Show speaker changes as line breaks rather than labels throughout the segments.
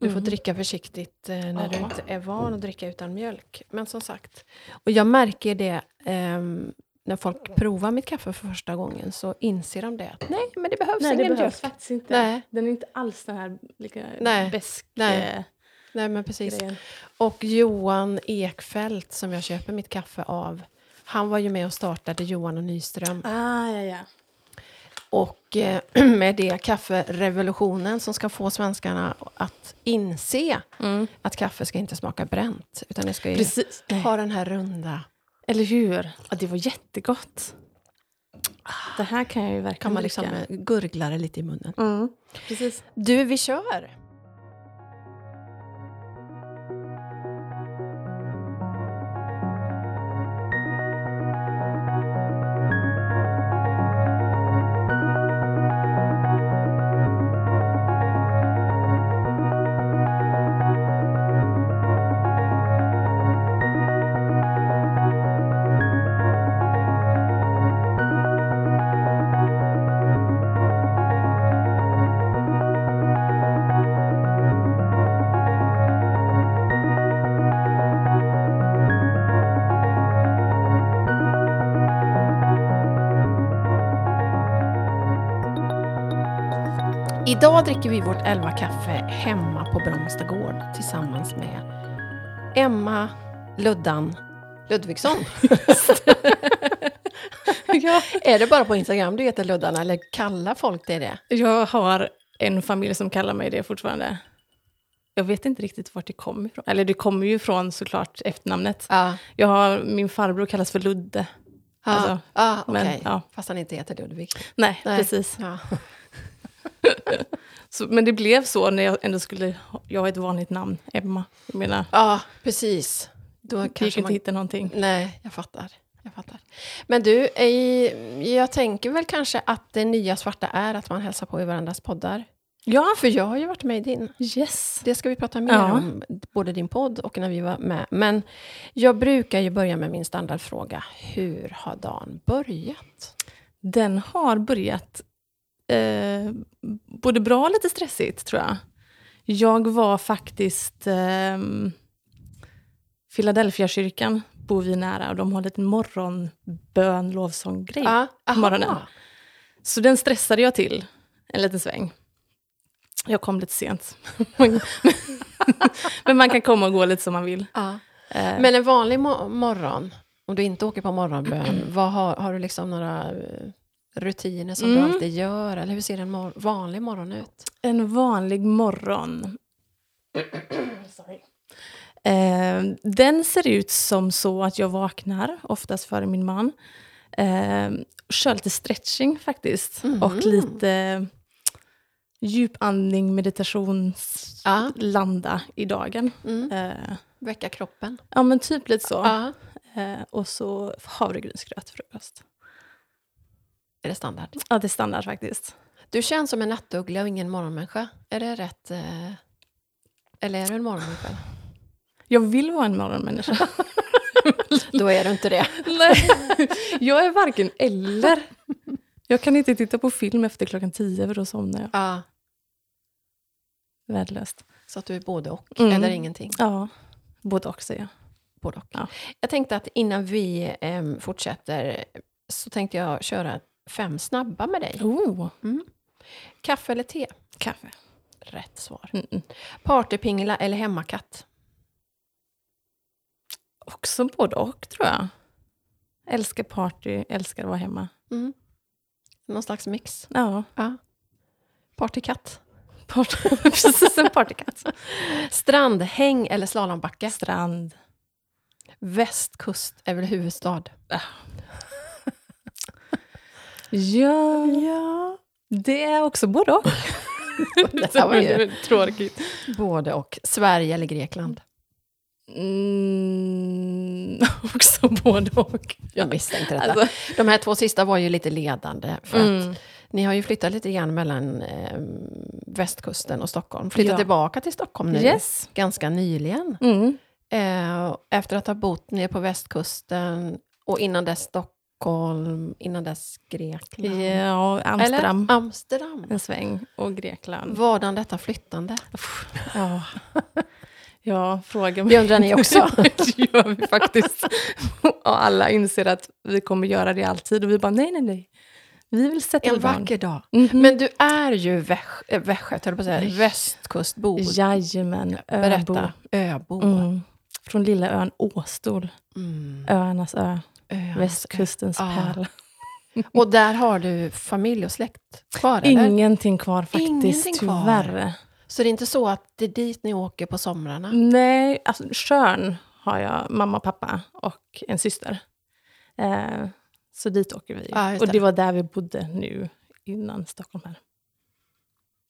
Du får
Mm.
dricka försiktigt eh, när du
Ja.
inte är van att dricka utan mjölk. Men som sagt, och jag märker det ehm, när folk provar mitt kaffe för första gången så inser de det att nej, men det behövs
Nej, det
ingen
behövs
mjölk.
faktiskt inte.
Nej,
Den är inte alls den här lika
Nej,
besk
nej,
eh,
nej, men precis.
grejen.
Och Johan Ekfeldt som jag köper mitt kaffe av, han var ju med och startade Johan och Nyström.
Ah, ja, ja.
Och eh, med det kafferevolutionen som ska få svenskarna att inse att kaffe ska inte smaka bränt, utan det ska ju
Mm. Precis.
ha den här runda.
Eller hur? Ja, det var jättegott. Det här kan jag ju verkligen
Kan man liksom
dricka.
eh, gurgla det lite i munnen.
Mm. Precis.
Du, vi kör! Idag dricker vi vårt elva kaffe hemma på Bromsta gård tillsammans med Emma Luddan Ludvigsson.
ja.
är det bara på Instagram du heter Luddan eller kallar folk dig det?
Jag har en familj som kallar mig det fortfarande. Jag vet inte riktigt vart det kommer ifrån. Eller det kommer ju från såklart efternamnet.
Ja,
Jag har, min farbror kallas för Ludde.
ja,
Alltså,
ja
men,
okej.
ja.
Fast han inte heter Ludvig.
Nej,
Nej.
precis.
Ja.
Så, men det blev så när jag ändå skulle... ha- Jag har ett vanligt namn, Emma. Jag menar,
ja, precis. Då
det gick
kanske
inte att
man...
hitta någonting.
Nej, jag fattar. Jag fattar. Men du, i- jag tänker väl kanske att det nya svarta är att man hälsar på i varandras poddar.
Ja,
För jag har ju varit med i din.
yes.
Det ska vi prata mer
Ja.
om, både din podd och när vi var med. Men jag brukar ju börja med min standardfråga. Hur har dagen börjat?
Den har börjat eh, både bra och lite stressigt, tror jag. Jag var faktiskt ehm, Philadelphiakyrkan bor vi nära och de har lite morgonbön, lovsång-grej.
Ja, aha.
morgonen. Så den stressade jag till en liten sväng. Jag kom lite sent. Men man kan komma och gå lite som man vill.
Ja.
Eh,
Men en vanlig mo- morgon, om du inte åker på
Mm.
morgonbön, vad har, har du liksom några eh, rutiner som
Mm.
du alltid gör? Eller hur ser en mor- vanlig morgon ut?
En vanlig morgon. Sorry. Eh, den ser ut som så att jag vaknar, oftast före min man. Eh, kör lite stretching faktiskt.
Mhm.
Och lite djupandning, meditations...
Ja.
Landa i dagen.
Mm.
Eh,
Väcka kroppen.
ja men typ lite så.
Ja.
Eh, och så havregrynsgrötfrukost.
Är det standard?
Ja det är standard faktiskt.
Du känns som en nattuggla och ingen morgonmänniska. Är det rätt? eh, Eller är du en morgonmänniska?
Jag vill vara en morgonmänniska.
Då är du inte det.
Nej, jag är varken eller. Jag kan inte titta på film efter klockan tio för då somnar jag.
Ja.
Värdelöst.
Så att du är både och,
Mm.
eller ingenting.
Ja, både och säger jag.
Både och.
Ja.
Jag tänkte att innan vi em, fortsätter så tänkte jag köra fem snabba med dig.
Oh,
Kaffe eller te?
kaffe.
Rätt svar.
Mm-mm.
Partypingla eller hemmakatt?
Också både och tror jag. Älskar party, älskar att vara hemma.
Mm. Någon slags mix.
Ja,
Ja. Partykatt.
party. precis en partykatt.
Strandhäng eller slalombacke?
Strand.
Västkust är väl huvudstad?
Ja, ja, det är också både och.
Det här var ju
tråkigt.
både och. Sverige eller Grekland?
Mm, också både och.
Jag misstänkte detta.
Alltså,
De här två sista var ju lite ledande. För att
mm.
Ni har ju flyttat lite grann mellan eh, västkusten och Stockholm. Flyttat
Ja.
tillbaka till Stockholm nu,
Yes.
ganska nyligen.
Mm.
Eh, efter att ha bott nere på västkusten och innan dess Stockholm Stockholm, innan dess Grekland.
Ja, Amsterdam
Eller? Amsterdam.
en sväng och Grekland.
Vadan detta flyttande?
Ja, ja fråga mig.
Det undrar ni också.
det gör vi faktiskt. Och alla inser att vi kommer göra det alltid. Och vi bara, nej, nej, nej. Vi vill sätta
En
till barn.
vacker dag.
Mhm.
Men du är ju väsch, äh, västgöt, höll jag på att säga, västkustbo.
Jajamän, Öbo.
Berätta. Öbo.
Mm. Från lilla ön Åstol,
Mm.
öarnas ö,
Ö.
västkustens
Ja.
pärla.
Och där har du familj och släkt kvar, eller?
Ingenting kvar faktiskt,
Ingenting kvar.
tyvärr.
Så det är inte så att det är dit ni åker på somrarna?
Nej, alltså Tjörn har jag mamma, och pappa och en syster. Eh, så dit åker vi.
Ja, just
och
det.
det var där vi bodde nu, innan Stockholm här.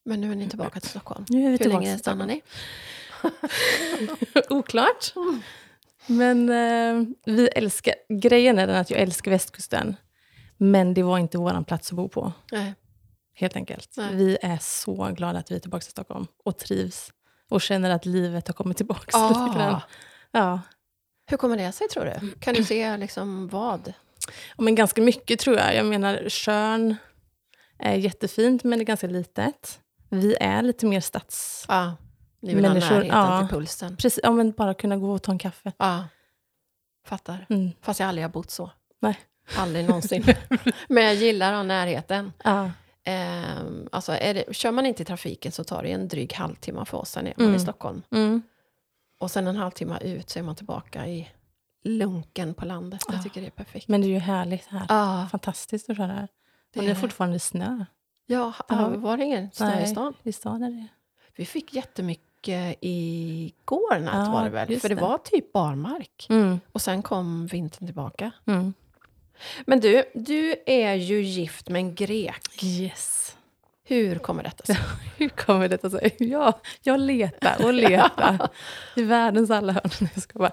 Men nu är ni tillbaka till Stockholm.
Mm. Nu är vi
Hur
tillbaka
länge
till
stannar ni?
Oklart.
Mm.
Men eh, vi älskar, grejen är den att jag älskar västkusten. Men det var inte vår plats att bo på,
Nej.
helt enkelt.
Nej.
Vi är så glada att vi är tillbaka i Stockholm och trivs. Och känner att livet har kommit tillbaka lite grann.
Ah,
Ja.
hur kommer det sig, tror du? Kan du se liksom vad?
Ja, Men ganska mycket tror jag. Jag menar, Tjörn är jättefint, men det är ganska litet. Vi är lite mer stads...
Ja, ni vill
Människor,
ha närheten
ja.
till pulsen.
Precis, ja, men bara kunna gå och ta en kaffe.
Ja, fattar.
Mm.
Fast jag aldrig har bott så.
Nej.
Aldrig någonsin. Men jag gillar den närheten.
Ja.
Ehm, alltså är det, kör man inte i trafiken så tar det en dryg halvtimme för oss, sen är man
Mm.
i Stockholm.
Mm.
Och sen en halvtimme ut så är man tillbaka i lunken på landet.
Ja.
Jag tycker det är perfekt.
Men det är ju härligt här.
Ah,
Fantastiskt att köra här.
det
Och det är
är,
fortfarande snö
ja,
Ja.
ja, var det ingen snö i
Nej.
stan?
i stan. Är det.
Vi fick jättemycket igår natt
Ja,
var det väl?
just
För Ah, det,
det.
var typ barmark.
Mm.
Och sen kom vintern tillbaka.
Mm.
Men du, du är ju gift med en grek.
Yes.
Hur kommer detta sig?
Hur kommer detta sig? Ja, jag letar och letar i världens alla hörn. Nej, Jag ska bara.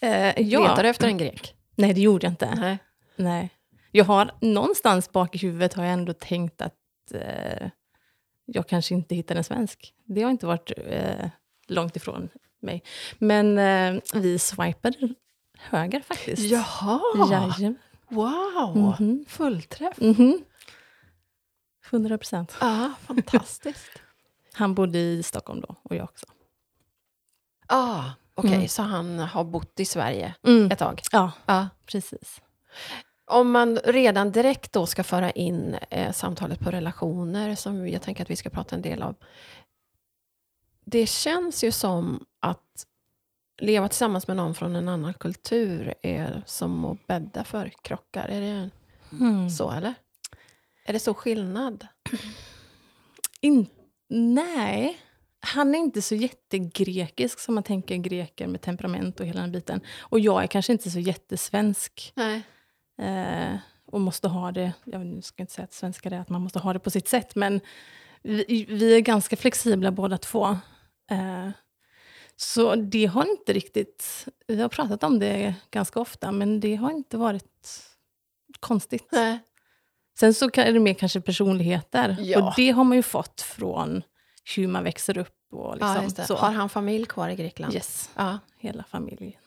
Eh, ja.
Letar du efter en grek?
Nej, det gjorde jag inte.
Nej.
Nej. Jag har någonstans bak i huvudet har jag ändå tänkt att eh, jag kanske inte hittar en svensk. Det har inte varit eh, långt ifrån mig. Men eh, vi swipade höger faktiskt.
Jaha!
Jajamän.
Wow!
Mhm.
Fullträff!
Mhm. 100 procent.
Ja, fantastiskt.
Han bodde i Stockholm då, och jag också.
ah, Okej,
Mm.
så han har bott i Sverige
Mm.
ett tag? Ah.
Ja,
Ja.
precis.
Om man redan direkt då ska föra in eh, samtalet på relationer, som jag tänker att vi ska prata en del om. Det känns ju som att leva tillsammans med någon från en annan kultur är som att bädda för krockar. Är det
Mm.
så, eller? Är det så skillnad?
In, nej, han är inte så jättegrekisk som man tänker greker med temperament och hela den biten. Och jag är kanske inte så jättesvensk
Nej.
eh, och måste ha det, jag nu ska jag inte säga att svenskar är att man måste ha det på sitt sätt, men vi, vi är ganska flexibla båda två. Eh, så det har inte riktigt, vi har pratat om det ganska ofta, men det har inte varit konstigt.
Nej.
Sen så kan- är det mer kanske personligheter.
Ja.
Och det har man ju fått från hur man växer upp. Och liksom,
ja, just det.
Så.
Har han familj kvar i Grekland?
Yes,
Ja.
hela familjen.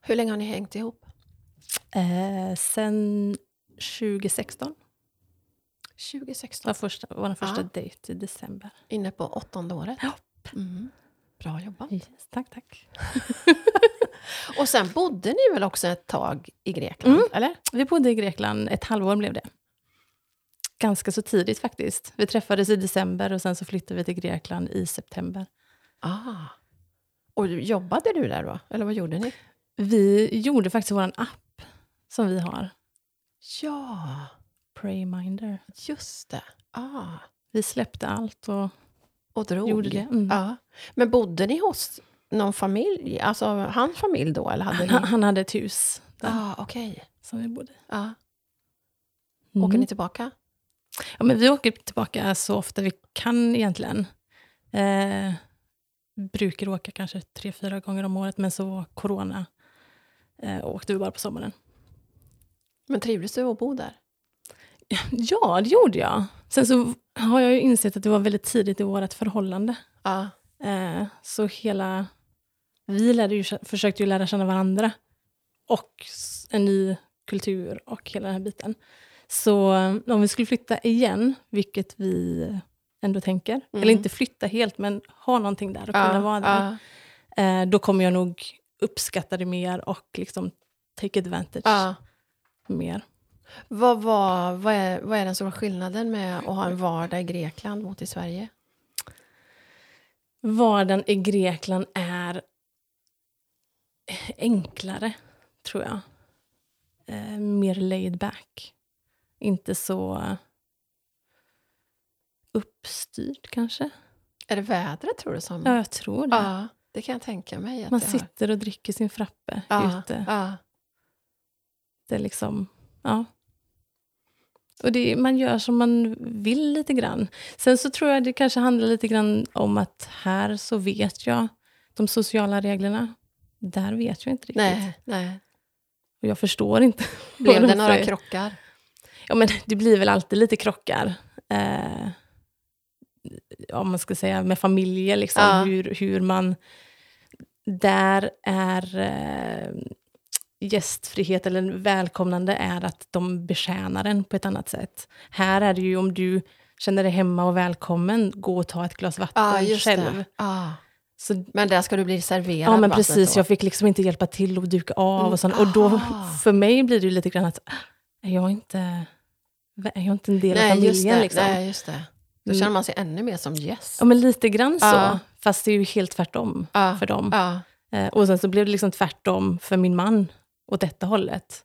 Hur länge har ni hängt ihop?
Eh, sen 2016 var
2016.
första, vår första
Ja.
dejt i december.
Inne på åttonde året.
Ja.
Mm. Bra jobbat.
Yes, tack, tack.
Och sen bodde ni väl också ett tag i Grekland?
Mm.
Eller?
Vi bodde i Grekland, ett halvår blev det. Ganska så tidigt faktiskt. Vi träffades i december och sen så flyttade vi till Grekland i september.
Ah. Och jobbade du där då? Eller vad gjorde ni?
Vi gjorde faktiskt vår app som vi har,
Ja,
Prayminder.
just det. Ah.
Vi släppte allt och
Och drog.
gjorde det. Mm.
Ja. Men bodde ni hos någon familj? Alltså hans familj då? Eller hade
Han,
ni?
han hade ett hus där
Ah, Okej.
som vi bodde i.
Ja.
Mm.
Åker ni tillbaka?
ja, men vi åker tillbaka så ofta vi kan egentligen. Eh, brukar åka kanske tre, fyra gånger om året, men så var corona. Eh, och åkte vi bara på sommaren.
Men trivdes du att bo där?
Ja, det gjorde jag. Sen så har jag ju insett att det var väldigt tidigt i vårt förhållande.
Ja.
Eh, så hela... Vi lärde ju, försökte ju lära känna varandra. Och s- en ny kultur och hela den här biten. Så eh, om vi skulle flytta igen, vilket vi ändå tänker,
Mm.
eller inte flytta helt, men ha någonting där och kunna vara där,
ja,
eh, då kommer jag nog uppskatta det mer och liksom take advantage
ja.
mer.
Vad, var, vad, är, vad är den stora skillnaden med att ha en vardag i Grekland mot i Sverige?
Vardagen i Grekland är enklare, tror jag. Eh, mer laid back. Inte så uppstyrd, kanske.
Är det vädret tror du som...
Ja, jag tror det.
Mm. Ja, det kan jag tänka mig. Att
Man
det har.
sitter och dricker sin frappe
ja,
ute.
Ja,
Det är liksom, ja. Och det, man gör som man vill lite grann. Sen så tror jag det kanske handlar lite grann om att här så vet jag de sociala reglerna. Där vet jag inte riktigt.
nej, nej.
Och jag förstår inte.
Blev
vad de
det några
säger.
krockar?
Ja, men det blir väl alltid lite krockar. Eh, om man ska säga med familjer, liksom.
Ja.
hur, hur man... Där är eh, gästfrihet eller välkomnande är att de betjänar en på ett annat sätt. Här är det ju om du känner dig hemma och välkommen, gå och ta ett glas vatten
Ja, just
själv.
det. Ja.
Så,
Men där ska du bli serverad
ja, men
vattnet
precis.
då.
Jag fick liksom inte hjälpa till och duka av
Mm,
och sånt. Och då,
ah.
för mig blir det ju lite grann att, ah, är jag inte, är jag inte en del av
nej, just
familjen?
det,
liksom?
nej, just det. Då
Mm.
känner man sig ännu mer som gäst.
Ja, men lite grann så.
Ja.
Fast det är ju helt tvärtom
Ja,
för dem.
ja,
Eh, och sen så blev det liksom tvärtom för min man åt detta hållet.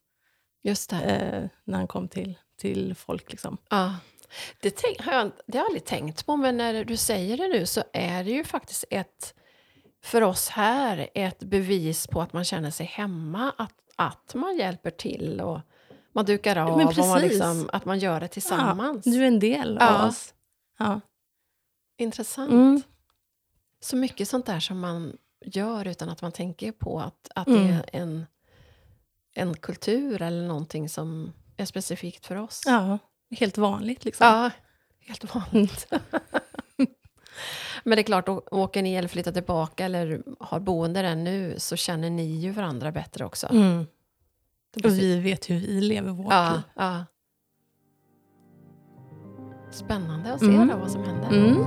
just det.
Eh, när han kom till, till folk. Liksom.
Ja. Det, tänk, har jag, det har jag aldrig tänkt på, men när du säger det nu så är det ju faktiskt ett, för oss här, ett bevis på att man känner sig hemma, att, att man hjälper till och man dukar av
men
och man
precis.
liksom, att man gör det tillsammans.
Ja, du är en del
Ja.
av oss. Ja.
Intressant.
Mm.
Så mycket sånt där som man gör utan att man tänker på att, att det
Mm.
är en, en kultur eller någonting som är specifikt för oss.
ja, helt vanligt liksom.
Ja, helt vanligt. Men det är klart, å- åker ni eller flyttar tillbaka eller har boende där nu så känner ni ju varandra bättre också.
Mm.
Det
Och
blir-
vi vet hur vi lever vårt
ja,
liv.
ja. Spännande att se
Mm.
då vad som händer.
Mm.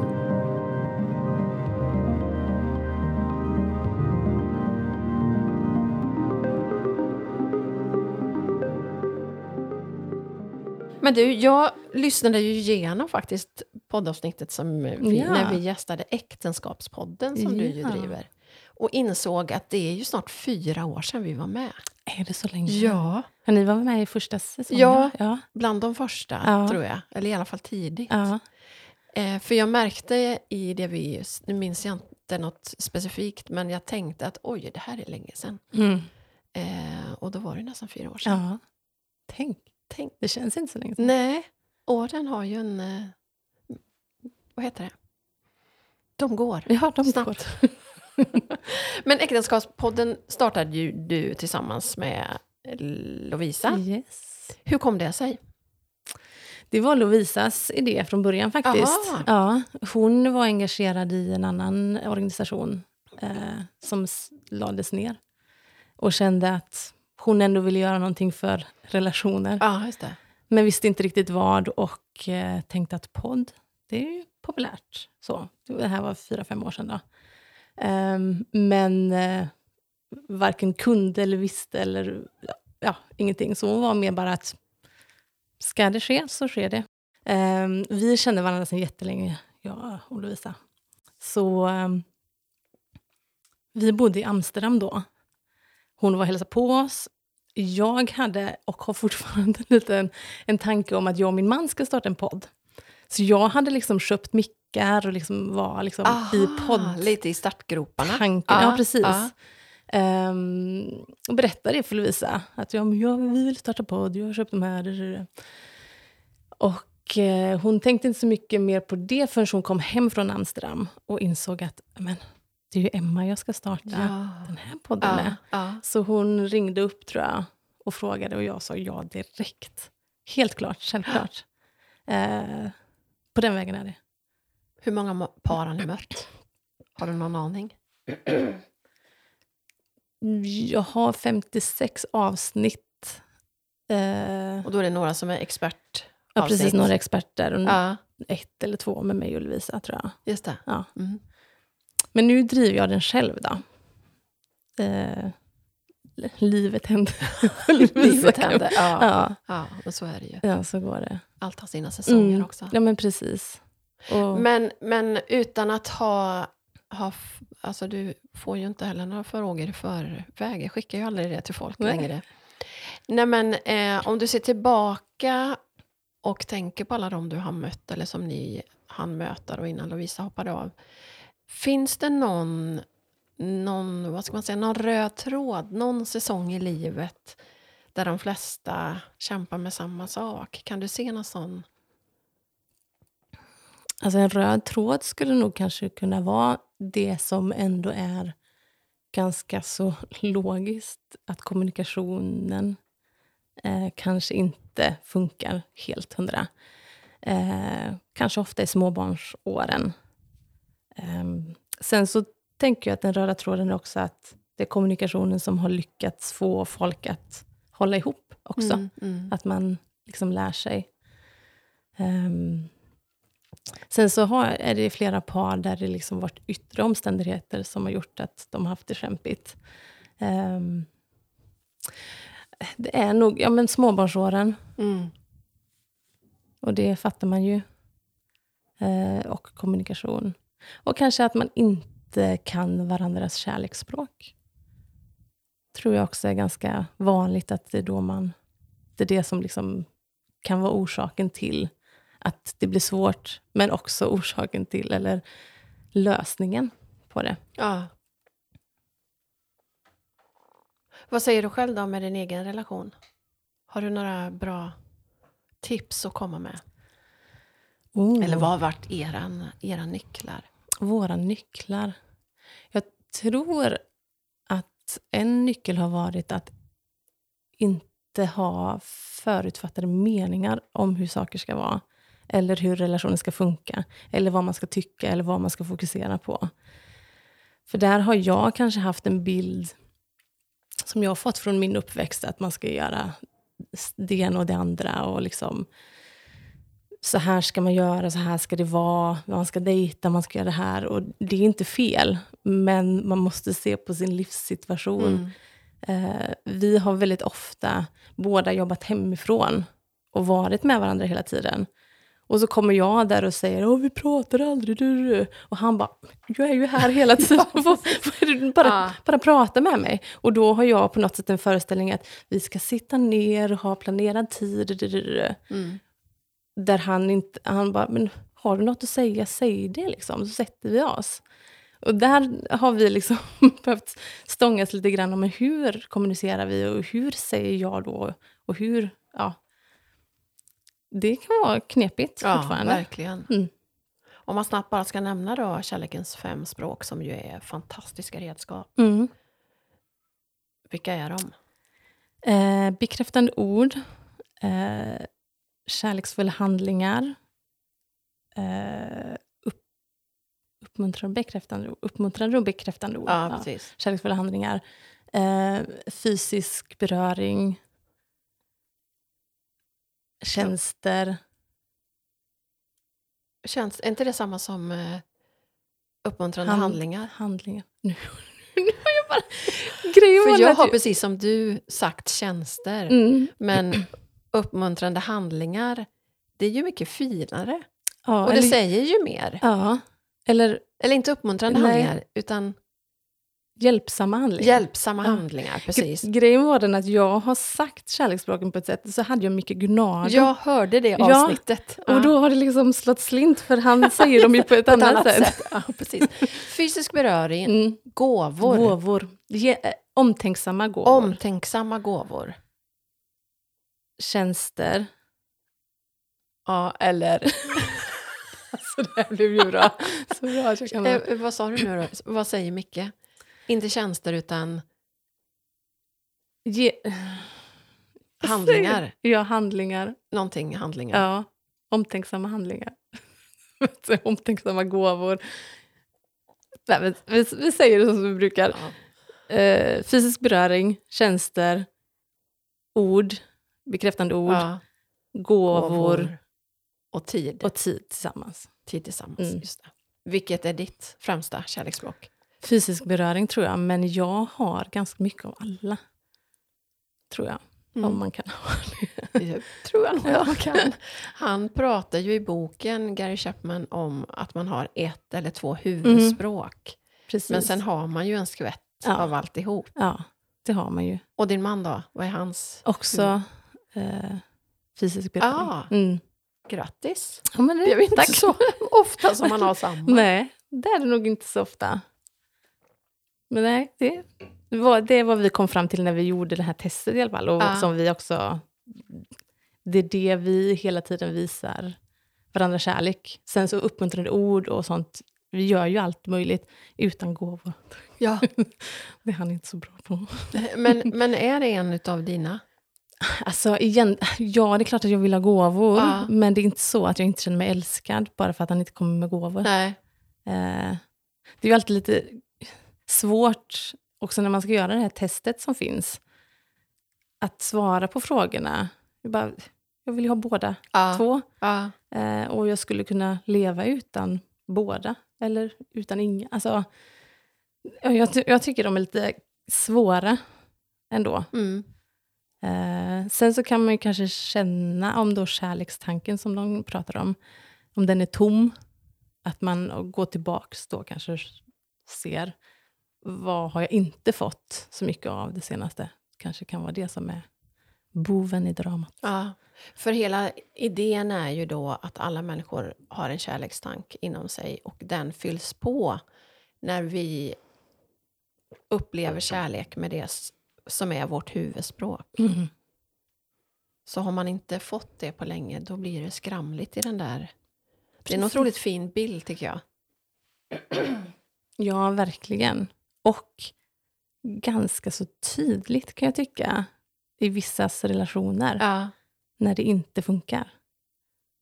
Men du, jag lyssnade ju igenom faktiskt poddavsnittet som vi,
Ja.
när vi gästade Äktenskapspodden som du ju
Ja.
driver. Och insåg att det är ju snart fyra år sedan vi var med.
Är det så länge?
Ja.
Har ni varit med i första säsongen?
Ja.
Ja.
Bland de första,
Ja.
tror jag. Eller i alla fall tidigt.
ja.
Eh, för jag märkte i det vi... Nu minns jag inte något specifikt, men jag tänkte att oj, det här är länge sedan.
Mm.
Eh, och då var det nästan fyra år sedan.
ja. Tänk.
Tänk.
Det känns inte så länge sedan.
Nej, åren har ju en... Eh, vad heter det? De går.
Ja, de
Snabbt.
går.
Men Äktenskapspodden startade ju du tillsammans med eh, Lovisa.
Yes.
Hur kom det sig?
Det var Lovisas idé från början faktiskt.
Aha.
Ja, hon var engagerad i en annan organisation eh, som s- lades ner. Och kände att hon ändå ville göra någonting för relationer.
Ja, just det.
Men visste inte riktigt vad och eh, tänkte att podd, det är ju populärt. Så, det här var fyra, fem år sedan då. Ehm, men eh, varken kunde eller visste eller ja, ingenting. Så hon var mer bara att ska det ske så sker det. Ehm, vi kände varandra sedan jättelänge, jag och Lovisa. Så ehm, vi bodde i Amsterdam då. Hon var och hälsade på oss. Jag hade, och har fortfarande, lite en, en tanke om att jag och min man ska starta en podd. Så jag hade liksom köpt mickar och liksom var liksom
Ah,
i podd
Lite i startgroparna.
tanken.
Ja,
Ja, precis.
ja.
Ehm, och berättade det för Lovisa. Att ja, men jag, vi vill starta podd, jag har köpt de här. det, det, det. Och eh, hon tänkte inte så mycket mer på det förrän hon kom hem från Amsterdam och insåg att men, det är ju Emma jag ska starta
Ja.
den här podden
Ja,
med.
ja.
Så hon ringde upp tror jag och frågade och jag sa ja direkt. Helt klart, självklart. Eh, på den vägen är det.
Hur många ma- par har ni mött? Har du någon aning?
Jag har 56 avsnitt Eh,
Och då är det några som är expert.
ja,
avsnitt.
precis, några experter. Och
Ja,
Ett eller två med mig och Lovisa, tror jag.
just det.
Ja.
Mm.
Men nu driver jag den själv då. Eh, livet händer.
Livet händer. Ja.
Ja.
ja, men så är det ju.
ja, så går det.
Allt har sina säsonger
Mm.
också.
Ja, men precis. Och,
Men, men utan att ha, ha... f- Alltså du får ju inte heller några frågor i förväg. Jag skickar ju aldrig det till folk
Nej.
längre. Nej men eh, om du ser tillbaka och tänker på alla de du har mött eller som ni hann möta då innan Lovisa hoppade av. Finns det någon, någon, vad ska man säga, någon röd tråd, någon säsong i livet där de flesta kämpar med samma sak? Kan du se någon sån?
alltså en röd tråd skulle nog kanske kunna vara det som ändå är ganska så logiskt. Att kommunikationen eh, kanske inte funkar helt hundra. Eh, kanske ofta i småbarnsåren. Ehm, sen så tänker jag att den röda tråden är också att det är kommunikationen som har lyckats få folk att hålla ihop också.
Mm, mm.
Att man liksom lär sig. Ehm, sen så har, är det flera par där det liksom varit yttre omständigheter som har gjort att de har haft det kämpigt. Ehm, det är nog ja, men småbarnsåren,
Mm.
och det fattar man ju. Eh, och kommunikation. Och kanske att man inte kan varandras kärleksspråk. tror jag också är ganska vanligt att det är då man... Det är det som liksom kan vara orsaken till att det blir svårt, men också orsaken till, eller lösningen på det.
Ja. Vad säger du själv då med din egen relation? Har du några bra tips att komma med? Eller vad har varit eran, era nycklar?
Våra nycklar. Jag tror att en nyckel har varit att inte ha förutfattade meningar om hur saker ska vara. Eller hur relationen ska funka. Eller vad man ska tycka eller vad man ska fokusera på. För där har jag kanske haft en bild som jag har fått från min uppväxt, att man ska göra det ena och det andra. Och liksom, så här ska man göra, så här ska det vara, man ska dejta, man ska göra det här. Och det är inte fel, men man måste se på sin livssituation. Eh, vi har väldigt ofta båda jobbat hemifrån och varit med varandra hela tiden. Och så kommer jag där och säger Åh, vi pratar aldrig. Du, du. Och han bara, jag är ju här hela tiden. Vad- vad är det? bara,
Ja.
bara prata med mig. Och då har jag på något sätt en föreställning att vi ska sitta ner och ha planerad tid. Du, du, du, du.
Mm.
Där han inte, han bara, men har du något att säga, säg det liksom, så sätter vi oss. Och där har vi liksom behövt stångas lite grann om men hur kommunicerar vi och hur säger jag då? Och hur, ja. Det kan vara knepigt
Ja,
fortfarande.
verkligen.
Mm.
Om man snabbt bara ska nämna då kärlekens fem språk som ju är fantastiska redskap.
Mm.
Vilka är de?
Eh, bekräftande ord, eh, kärleksfulla handlingar, eh, upp, uppmuntrande, och bekräftande, ord- uppmuntrande och bekräftande ord.
Ja,
ja.
precis.
kärleksfulla handlingar, eh, fysisk beröring, tjänster.
Känns, är inte det samma som eh, uppmuntrande
Hand-
handlingar?
Handlingar. Nu, nu har jag bara... Grejen var
För jag
att
har precis som du sagt tjänster.
typ- mm,
Men uppmuntrande handlingar, det är ju mycket finare.
ja,
Och det
eller,
säger ju mer.
ja, eller
Eller inte uppmuntrande
Nej.
handlingar, utan
hjälpsamma handlingar.
hjälpsamma
Ja.
handlingar. Precis.
Gre- Grejen var den att jag har sagt kärleksspråken på ett sätt, så hade jag mycket Gunardo.
Jag hörde det
Ja,
avsnittet.
Och då har det liksom slått slint, för han säger dem ju på ett,
På ett
annat sätt.
Ja, precis. Fysisk beröring,
Mm.
gåvor,
Gåvor. Ge, eh, omtänksamma gåvor.
omtänksamma gåvor.
Tjänster.
Ja, eller...
Alltså det här blev ju bra. Så bra att jag kan...
Eh, vad sa du nu då? Vad säger Micke? Inte tjänster, utan
Ge...
handlingar.
Ja, handlingar.
Någonting handlingar.
Ja. Omtänksamma handlingar. Omtänksamma gåvor. Nej, men vi, vi säger det som vi brukar.
Ja.
Eh, fysisk beröring, tjänster, ord, bekräftande ord,
Ja,
gåvor,
gåvor och tid.
och tid tillsammans.
tid tillsammans.
Mm.
Just det. Vilket är ditt främsta kärleksspråk?
Fysisk beröring tror jag, men jag har ganska mycket av alla. Tror jag,
Mm.
om man kan ha det.
Det tror jag nog jag kan. Han pratar ju i boken, Gary Chapman, om att man har ett eller två huvudspråk.
Mm. Precis.
Men sen har man ju en skvätt
Ja.
av alltihop.
Ja, det har man ju.
Och din man då? Vad är hans?
Också eh, fysisk beröring.
Mm. Ah.
Mm.
Grattis!
Ja, men det,
Det är ju inte
tack.
så ofta som man har samma.
Nej, det är det nog inte så ofta. Men nej, det var, det var vi kom fram till när vi gjorde det här testet i alla fall. Och
Ja.
som vi också... Det är det vi hela tiden visar varandra kärlek. Sen så uppmuntrande ord och sånt. Vi gör ju allt möjligt utan gåvor.
Ja.
Det är han inte så bra på.
Men, men är det en av dina?
Alltså igen, ja det är klart att jag vill ha gåvor.
Ja.
Men det är inte så att jag inte känner mig älskad bara för att han inte kommer med gåvor.
Nej.
Eh, det är ju alltid lite svårt, också när man ska göra det här testet som finns, att svara på frågorna. Jag, bara, jag vill ju ha båda
Ja.
två.
Ja.
Eh, och jag skulle kunna leva utan båda, eller utan inga. Alltså, ja, jag, ty- jag tycker de är lite svåra ändå.
Mm.
Eh, sen så kan man ju kanske känna om då kärlekstanken som de pratar om, om den är tom, att man går tillbaks då kanske ser vad har jag inte fått så mycket av det senaste. Kanske kan vara det som är boven i dramat.
Ja, för hela idén är ju då att alla människor har en kärlekstank inom sig och den fylls på när vi upplever kärlek med det s- som är vårt huvudspråk.
Mm.
Så har man inte fått det på länge, då blir det skramligt i den där... Det är en
Precis.
otroligt fin bild, tycker jag.
Ja, verkligen. Och ganska så tydligt kan jag tycka i vissas relationer.
Ja,
när det inte funkar.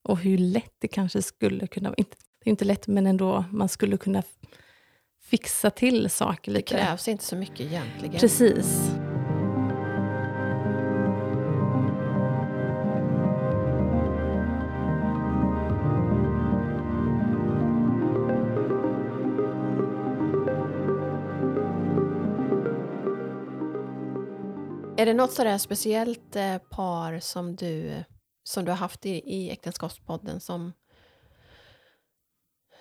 Och hur lätt det kanske skulle kunna vara. Inte- Det är inte lätt, men ändå, man skulle kunna f- fixa till saker
det
lite.
krävs inte så mycket egentligen.
Precis.
Är det något sådär speciellt eh, par som du, som du har haft i, i Äktenskapspodden som,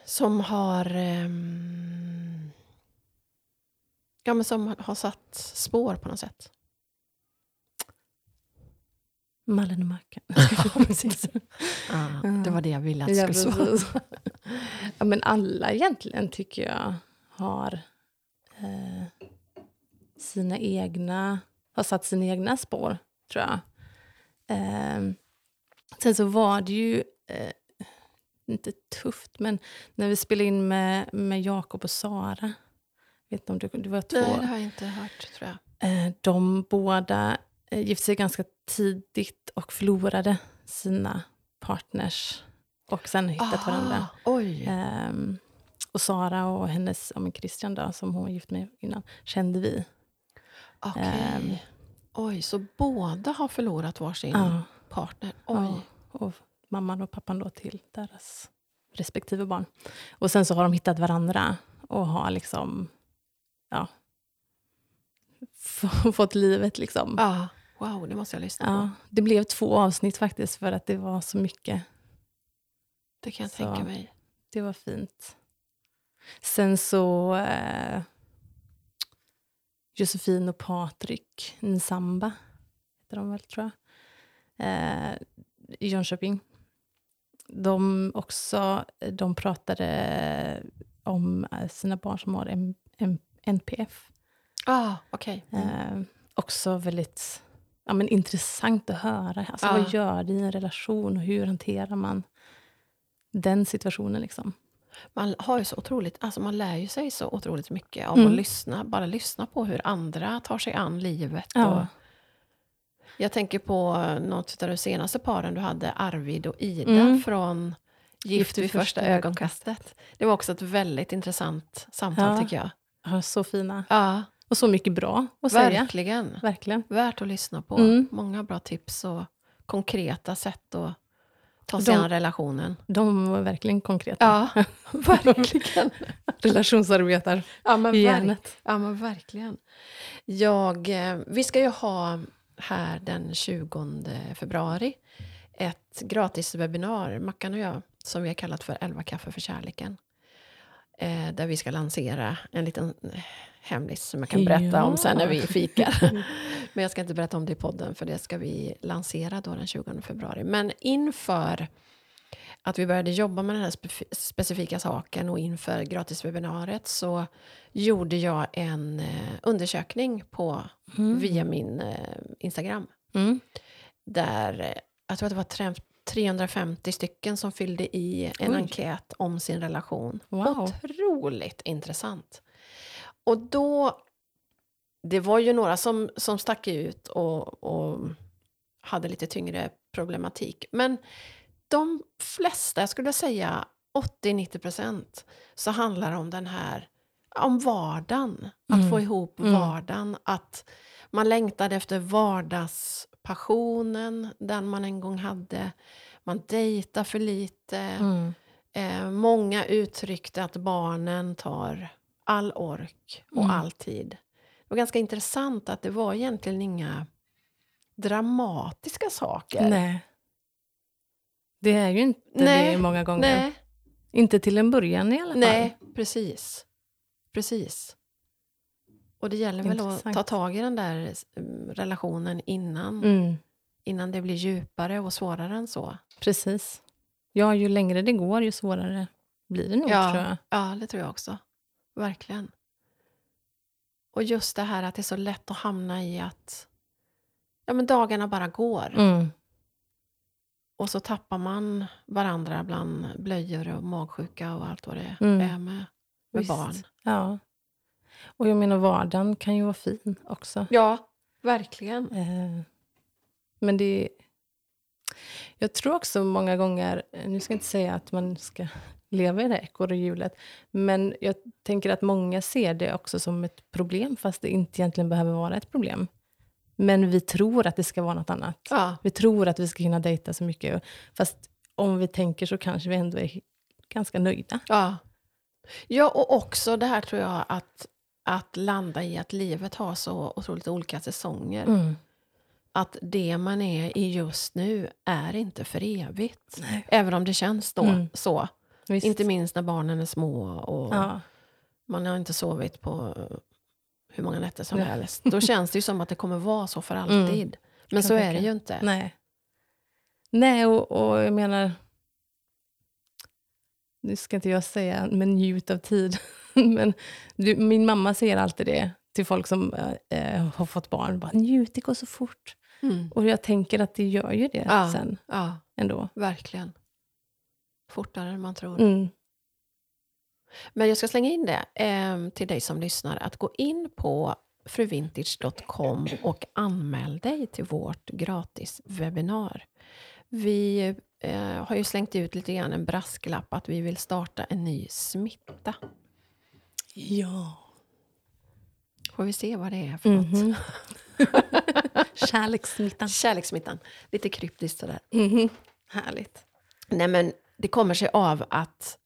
som har ehm, ja, men som har satt spår på något sätt?
Mallen och Mackan.
precis.
Ah, det var
det jag ville
Mm. Ja, precis. ja, men alla egentligen tycker jag har eh, sina egna, har satt sina egna spår, tror jag. Eh, sen så var det ju, eh, inte tufft, men när vi spelade in med, med Jakob och Sara, vet inte om du, det var två
Nej, det har jag inte hört tror jag.
Eh, De båda eh, gifte sig ganska tidigt och förlorade sina partners och sen hittat
Aha,
varandra.
Ah, Oj.
Ehm, och Sara och hennes, ja men Christian då, som hon var gift med innan, kände vi.
Okej.
ehm.
Oj, så båda har förlorat varsin
Ja,
partner? Oj.
ja. och mamman och pappan då till deras respektive barn. Och sen så har de hittat varandra och har liksom, ja, f- fått livet liksom.
Ja. Ah, Wow, det måste jag lyssna på.
Ja, det blev två avsnitt faktiskt för att det var så mycket.
Det kan jag
Så.
tänka mig.
Det var fint. Sen så eh, Josefin och Patrik Nsamba, heter de väl tror jag, eh, i Jönköping. De, också, de pratade om eh, sina barn som har M- M- NPF.
Ah, okej. Mm.
Eh, också väldigt ja, men intressant att höra. Alltså,
Ja.
Vad gör det i en relation och hur hanterar man den situationen? Liksom?
Man har ju så otroligt, alltså man lär ju sig så otroligt mycket av
Mm.
att lyssna, bara lyssna på hur andra tar sig an livet. Och
Ja.
jag tänker på något av de senaste paren du hade, Arvid och Ida
Mm.
från Gift vid första ögonkastet. Det var också ett väldigt intressant samtal
Ja.
tycker jag.
Ja, så fina.
Ja,
Och så mycket bra att säga.
verkligen.
Verkligen.
Värt att lyssna på.
Mm.
Många bra tips och konkreta sätt att ta sig
De-
an relationen.
De var verkligen konkreta.
Ja, verkligen.
Relationsarbetar
Ja, men
i
verk-
hjärnet.
Ja, men verkligen. Jag, eh, vi ska ju ha här den 20 februari ett gratis webbinar, Mackan och jag, som vi har kallat för 11 kaffe för kärleken. Eh, där vi ska lansera en liten eh, hemlis som jag kan berätta om sen när vi fikar. Men jag ska inte berätta om det i podden, för det ska vi lansera då den 20 februari. Men inför att vi började jobba med den här spe- specifika saken och inför gratiswebbinariet så gjorde jag en eh, undersökning på,
Mm.
via min eh, Instagram.
Mm.
Där eh, jag tror att det var tre- 350 stycken som fyllde i en
Oj.
enkät om sin relation.
Wow.
Otroligt intressant. Och då, det var ju några som, som stack ut och, och hade lite tyngre problematik. Men de flesta, jag skulle säga 80-90 procent, så handlar det om den här om vardagen, att
Mm.
få ihop
Mm.
vardagen, att man längtade efter vardagspassionen, den man en gång hade, man dejtar för lite,
Mm.
Eh, många uttryckte att barnen tar all ork och
Mm.
all tid. Det var ganska intressant att det var egentligen inga dramatiska saker.
Nej. Det är ju inte
Nej,
det många gånger.
Nej,
Inte till en början i alla fall.
nej, precis. Precis. Och det gäller väl att
Intressant.
ta tag i den där mm, relationen innan,
Mm.
innan det blir djupare och svårare än så.
Precis. Ja, ju längre det går, ju svårare blir det nog,
Ja.
tror jag.
Ja, det tror jag också. Verkligen. Och just det här att det är så lätt att hamna i att ja, men dagarna bara går.
Mm.
Och så tappar man varandra bland blöjor och magsjuka och allt vad det
Mm.
är med, med
Visst.
barn.
Ja. Och jag menar, vardagen kan ju vara fin också.
Ja, verkligen.
Eh, Men det... Jag tror också många gånger, nu ska jag inte säga att man ska leva i det här ekorrehjulet, men jag tänker att många ser det också som ett problem, fast det inte egentligen behöver vara ett problem. Men vi tror att det ska vara något annat.
Ja,
Vi tror att vi ska hinna dejta så mycket, fast om vi tänker så kanske vi ändå är ganska nöjda.
ja. ja, och också det här tror jag att, att landa i att livet har så otroligt olika säsonger.
Mm.
Att det man är i just nu är inte för evigt.
Nej.
Även om det känns då
Mm.
så.
Visst.
Inte minst när barnen är små och
Ja.
man har inte sovit på eh, hur många nätter som
Nej.
helst. Då känns det ju som att det kommer vara så för alltid. Men
Mm. Kan
så är det
tänka.
ju inte.
Nej. Nej, och, och jag menar... Nu ska inte jag säga, men njut av tid. men du, min mamma säger alltid det till folk som eh, eh, har fått barn. Bara, njut, det går så fort.
Mm.
Och jag tänker att det gör ju det
Ja.
sen
Ja,
ändå.
verkligen. Fortare än man tror.
Mm.
Men jag ska slänga in det eh, till dig som lyssnar. Att gå in på fruvintage.com och anmäl dig till vårt gratis webbinar. Vi eh, har ju slängt ut lite grann en brasklapp att vi vill starta en ny smitta.
Ja.
Får vi se vad det är för något.
Mhm. Kärlekssmittan.
Kärlekssmittan. Lite kryptiskt sådär.
Mhm. Härligt.
Nej, men det kommer sig av att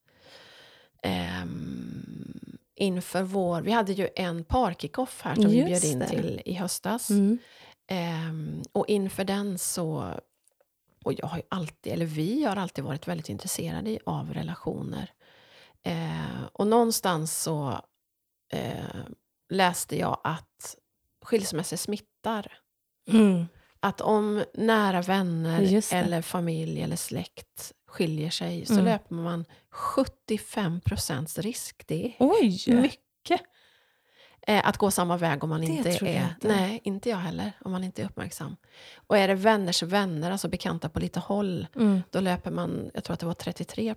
ehm, inför vår... Vi hade ju en parkickoff här som vi
Just
bjöd in
det.
till i höstas.
Mm.
Ehm, och inför den så... Och jag har ju alltid, eller vi har alltid varit väldigt intresserade i- av relationer. Eh, och någonstans så eh, läste jag att skilsmässor smittar.
Mm.
Att om nära vänner
Just det.
eller familj eller släkt skiljer sig så
Mm.
löper man 75 risk. Det är
Oj!
mycket. Eh, att gå samma väg om man
Det
inte
tror jag
är...
inte.
Nej, inte jag heller. Om man inte är uppmärksam. Och är det vänners vänner, alltså bekanta på lite håll,
Mm.
då löper man, jag tror att det var 33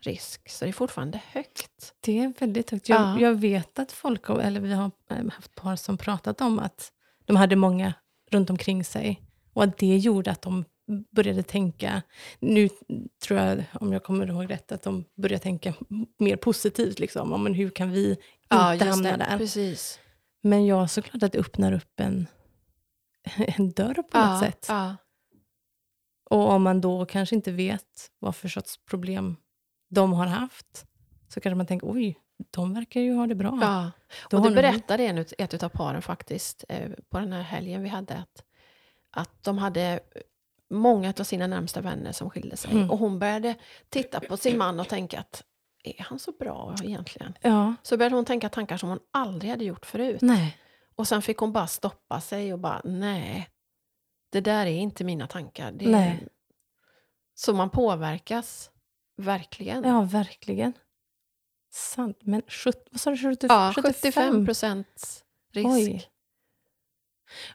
risk. Så det är fortfarande högt.
Det är väldigt högt. Jag,
Ja.
jag vet att folk, eller vi har eh, haft par som pratat om att de hade många runt omkring sig och att det gjorde att de började tänka, nu tror jag, om jag kommer ihåg rätt, att de började tänka mer positivt. Liksom, om, men hur kan vi inte hamna där?
Precis.
Men ja, såklart att det öppnar upp en, en dörr på något
Ja,
sätt.
ja.
Och om man då kanske inte vet vad för sorts problem de har haft, så kanske man tänker oj, de verkar ju ha det bra.
Ja.
Då
Och
har
det
ni-
berättade en, ut- ett utav paren faktiskt eh, på den här helgen vi hade. Att, att de hade eh, många av sina närmsta vänner som skilde sig.
Mm.
Och hon började titta på sin man och tänka att är han så bra egentligen?
Ja.
Så började hon tänka tankar som hon aldrig hade gjort förut.
Nej.
Och sen fick hon bara stoppa sig och bara nej. Det där är inte mina tankar. Det är...
Nej.
Så man påverkas verkligen.
Ja, verkligen. Sant. Men 70, vad sa du? 70,
Ja, 75 procents risk.
Oj.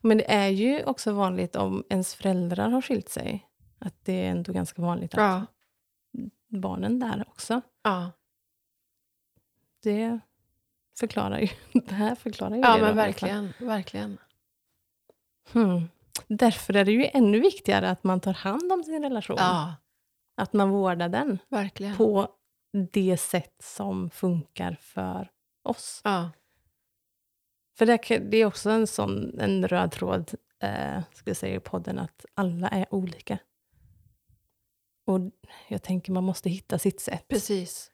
Men det är ju också vanligt om ens föräldrar har skilt sig. Att det är ändå ganska vanligt att
Ja,
barnen där också.
ja.
Det förklarar ju det här. Förklarar ju
ja
det
men
då, i alla fall.
verkligen. verkligen.
Hmm. Därför är det ju ännu viktigare att man tar hand om sin relation.
Ja,
Att man vårdar den
verkligen.
på det sätt som funkar för oss.
Ja,
För det, kan- det är också en, sån, en röd tråd eh, ska jag säga, i podden, att alla är olika. Och jag tänker man måste hitta sitt sätt.
precis.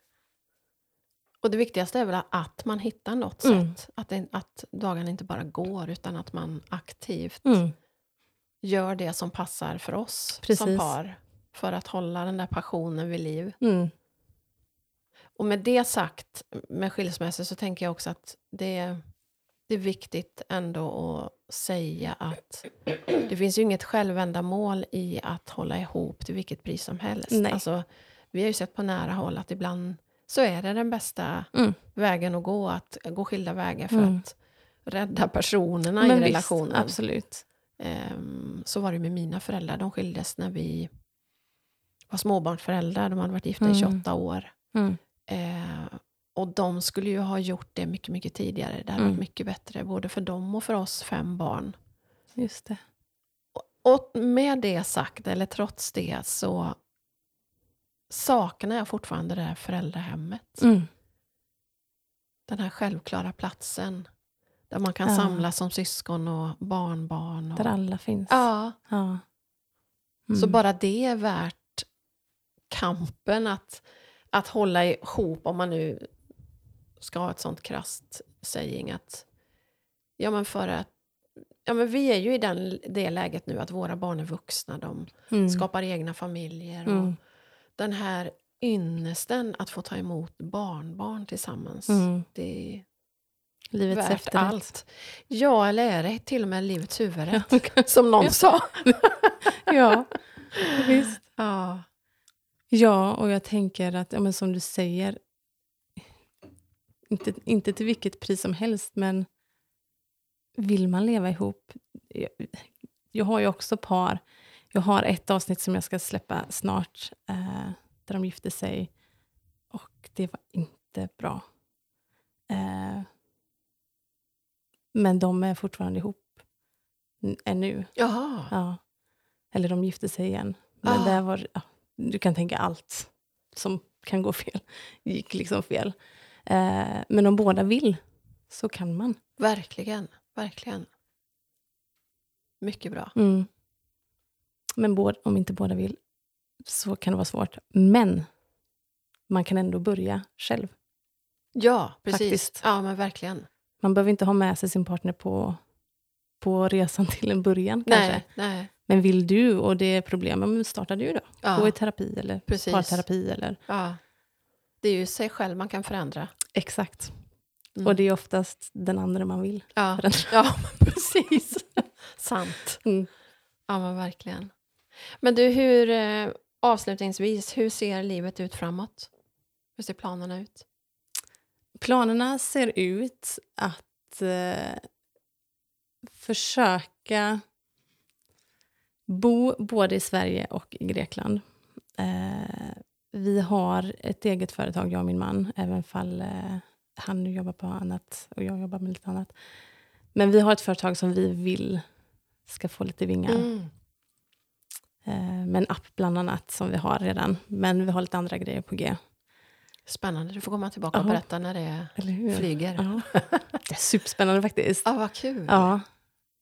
Och det viktigaste är väl att man hittar något
Mm.
sätt. Att, det, att dagarna inte bara går, utan att man aktivt
Mm,
gör det som passar för oss som
Precis.
par. För att hålla den där passionen vid liv.
mm,
Och med det sagt, med skilsmässor, så tänker jag också att det, det är viktigt ändå att säga att det finns ju inget självändamål i att hålla ihop till vilket pris som helst.
Nej.
Alltså, vi har ju sett på nära håll att ibland så är det den bästa
mm.
vägen att gå, att gå skilda vägar för
Mm.
att rädda personerna i
Men visst,
relationen.
absolut.
Ehm, så var det med mina föräldrar. De skildes när vi var småbarnsföräldrar. De hade varit gifta i
Mm.
28 år.
Mm,
Eh, och de skulle ju ha gjort det mycket, mycket tidigare. Det hade
Mm.
varit mycket bättre, både för dem och för oss fem barn.
just det.
Och med det sagt, eller trots det, så saknar jag fortfarande det här föräldrahemmet.
Mm,
Den här självklara platsen. Där man kan
Ja.
samlas som syskon och barnbarn. Och,
där alla finns.
ja,
Ja. Mm.
Så bara det är värt kampen att, att hålla ihop, om man nu ska ha ett sånt krasst saying att ja men för att Ja, men vi är ju i den, det läget nu att våra barn är vuxna, de
Mm,
skapar egna familjer. Och
mm,
Den här ynnesten att få ta emot barnbarn tillsammans,
mm.
det är
Livets
värt
efterrätt.
allt. Ja, eller är det till och med livets huvudrätt,
Ja,
som någon sa.
ja, visst.
Ja.
Ja, och jag tänker att, ja, men som du säger, inte, inte till vilket pris som helst, men vill man leva ihop? Jag, jag har ju också par. Jag har ett avsnitt som jag ska släppa snart, eh, där de gifte sig, och det var inte bra. Eh, men de är fortfarande ihop, n- ännu.
Jaha.
Ja. Eller de gifte sig igen. Men
Ah.
där var, ja, du kan tänka allt som kan gå fel. gick liksom fel. Eh, men om båda vill så kan man.
Verkligen, verkligen. Mycket bra.
Mm. Men båd, om inte båda vill så kan det vara svårt. Men man kan ändå börja själv.
Ja, precis.
Faktiskt.
Ja, men verkligen.
Man behöver inte ha med sig sin partner på, på resan till en början. Kanske.
Nej, nej.
Men vill du och det är problem, ja, men starta du då. Gå
Ja,
i terapi eller
Ah. Precis.
parterapi. Eller,
ja. Det är ju sig själv man kan förändra.
exakt.
Mm.
Och det är oftast den andra man vill
ja.
förändra.
ja, men precis. Sant.
Mm.
Ja, men verkligen. Men du, hur, eh, avslutningsvis, hur ser livet ut framåt? Hur ser planerna ut?
Planerna ser ut att eh, försöka bo både i Sverige och i Grekland. Eh, vi har ett eget företag, jag och min man, även fall eh, han nu jobbar på annat och jag jobbar med lite annat. Men vi har ett företag som vi vill ska få lite vingar.
Mm.
Eh, med en app bland annat som vi har redan. Men vi har lite andra grejer på G.
Spännande. Du får komma tillbaka och
Ja.
berätta när det
Eller hur?
flyger. Ja,
Ja. Det är superspännande faktiskt.
vad kul.
Ja.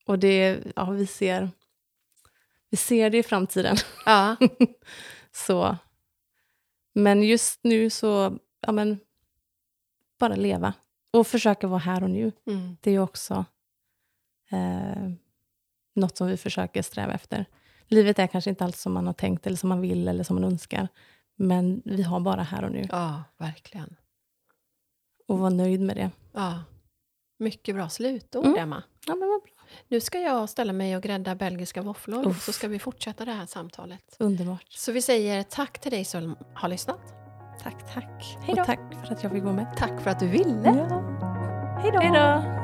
Och det, ja, vi ser... Vi ser det i framtiden.
Ja.
Så. Men just nu så, ja men, bara leva. Och försöka vara här och nu.
Mm.
Det är ju också eh, något som vi försöker sträva efter. Livet är kanske inte allt som man har tänkt, eller som man vill eller som man önskar. Men vi har bara här och nu.
ja, verkligen.
Och vara nöjd med det.
Ja. Mycket bra slutord,
Mm.
Emma.
Ja, men vad bra.
Nu ska jag ställa mig och grädda belgiska våfflor,
Uff.
så ska vi fortsätta det här samtalet.
Underbart.
Så vi säger tack till dig som har lyssnat.
Tack, tack.
Hej då.
Och tack för att jag fick vara med.
Tack för att du ville.
Ja. Hej då.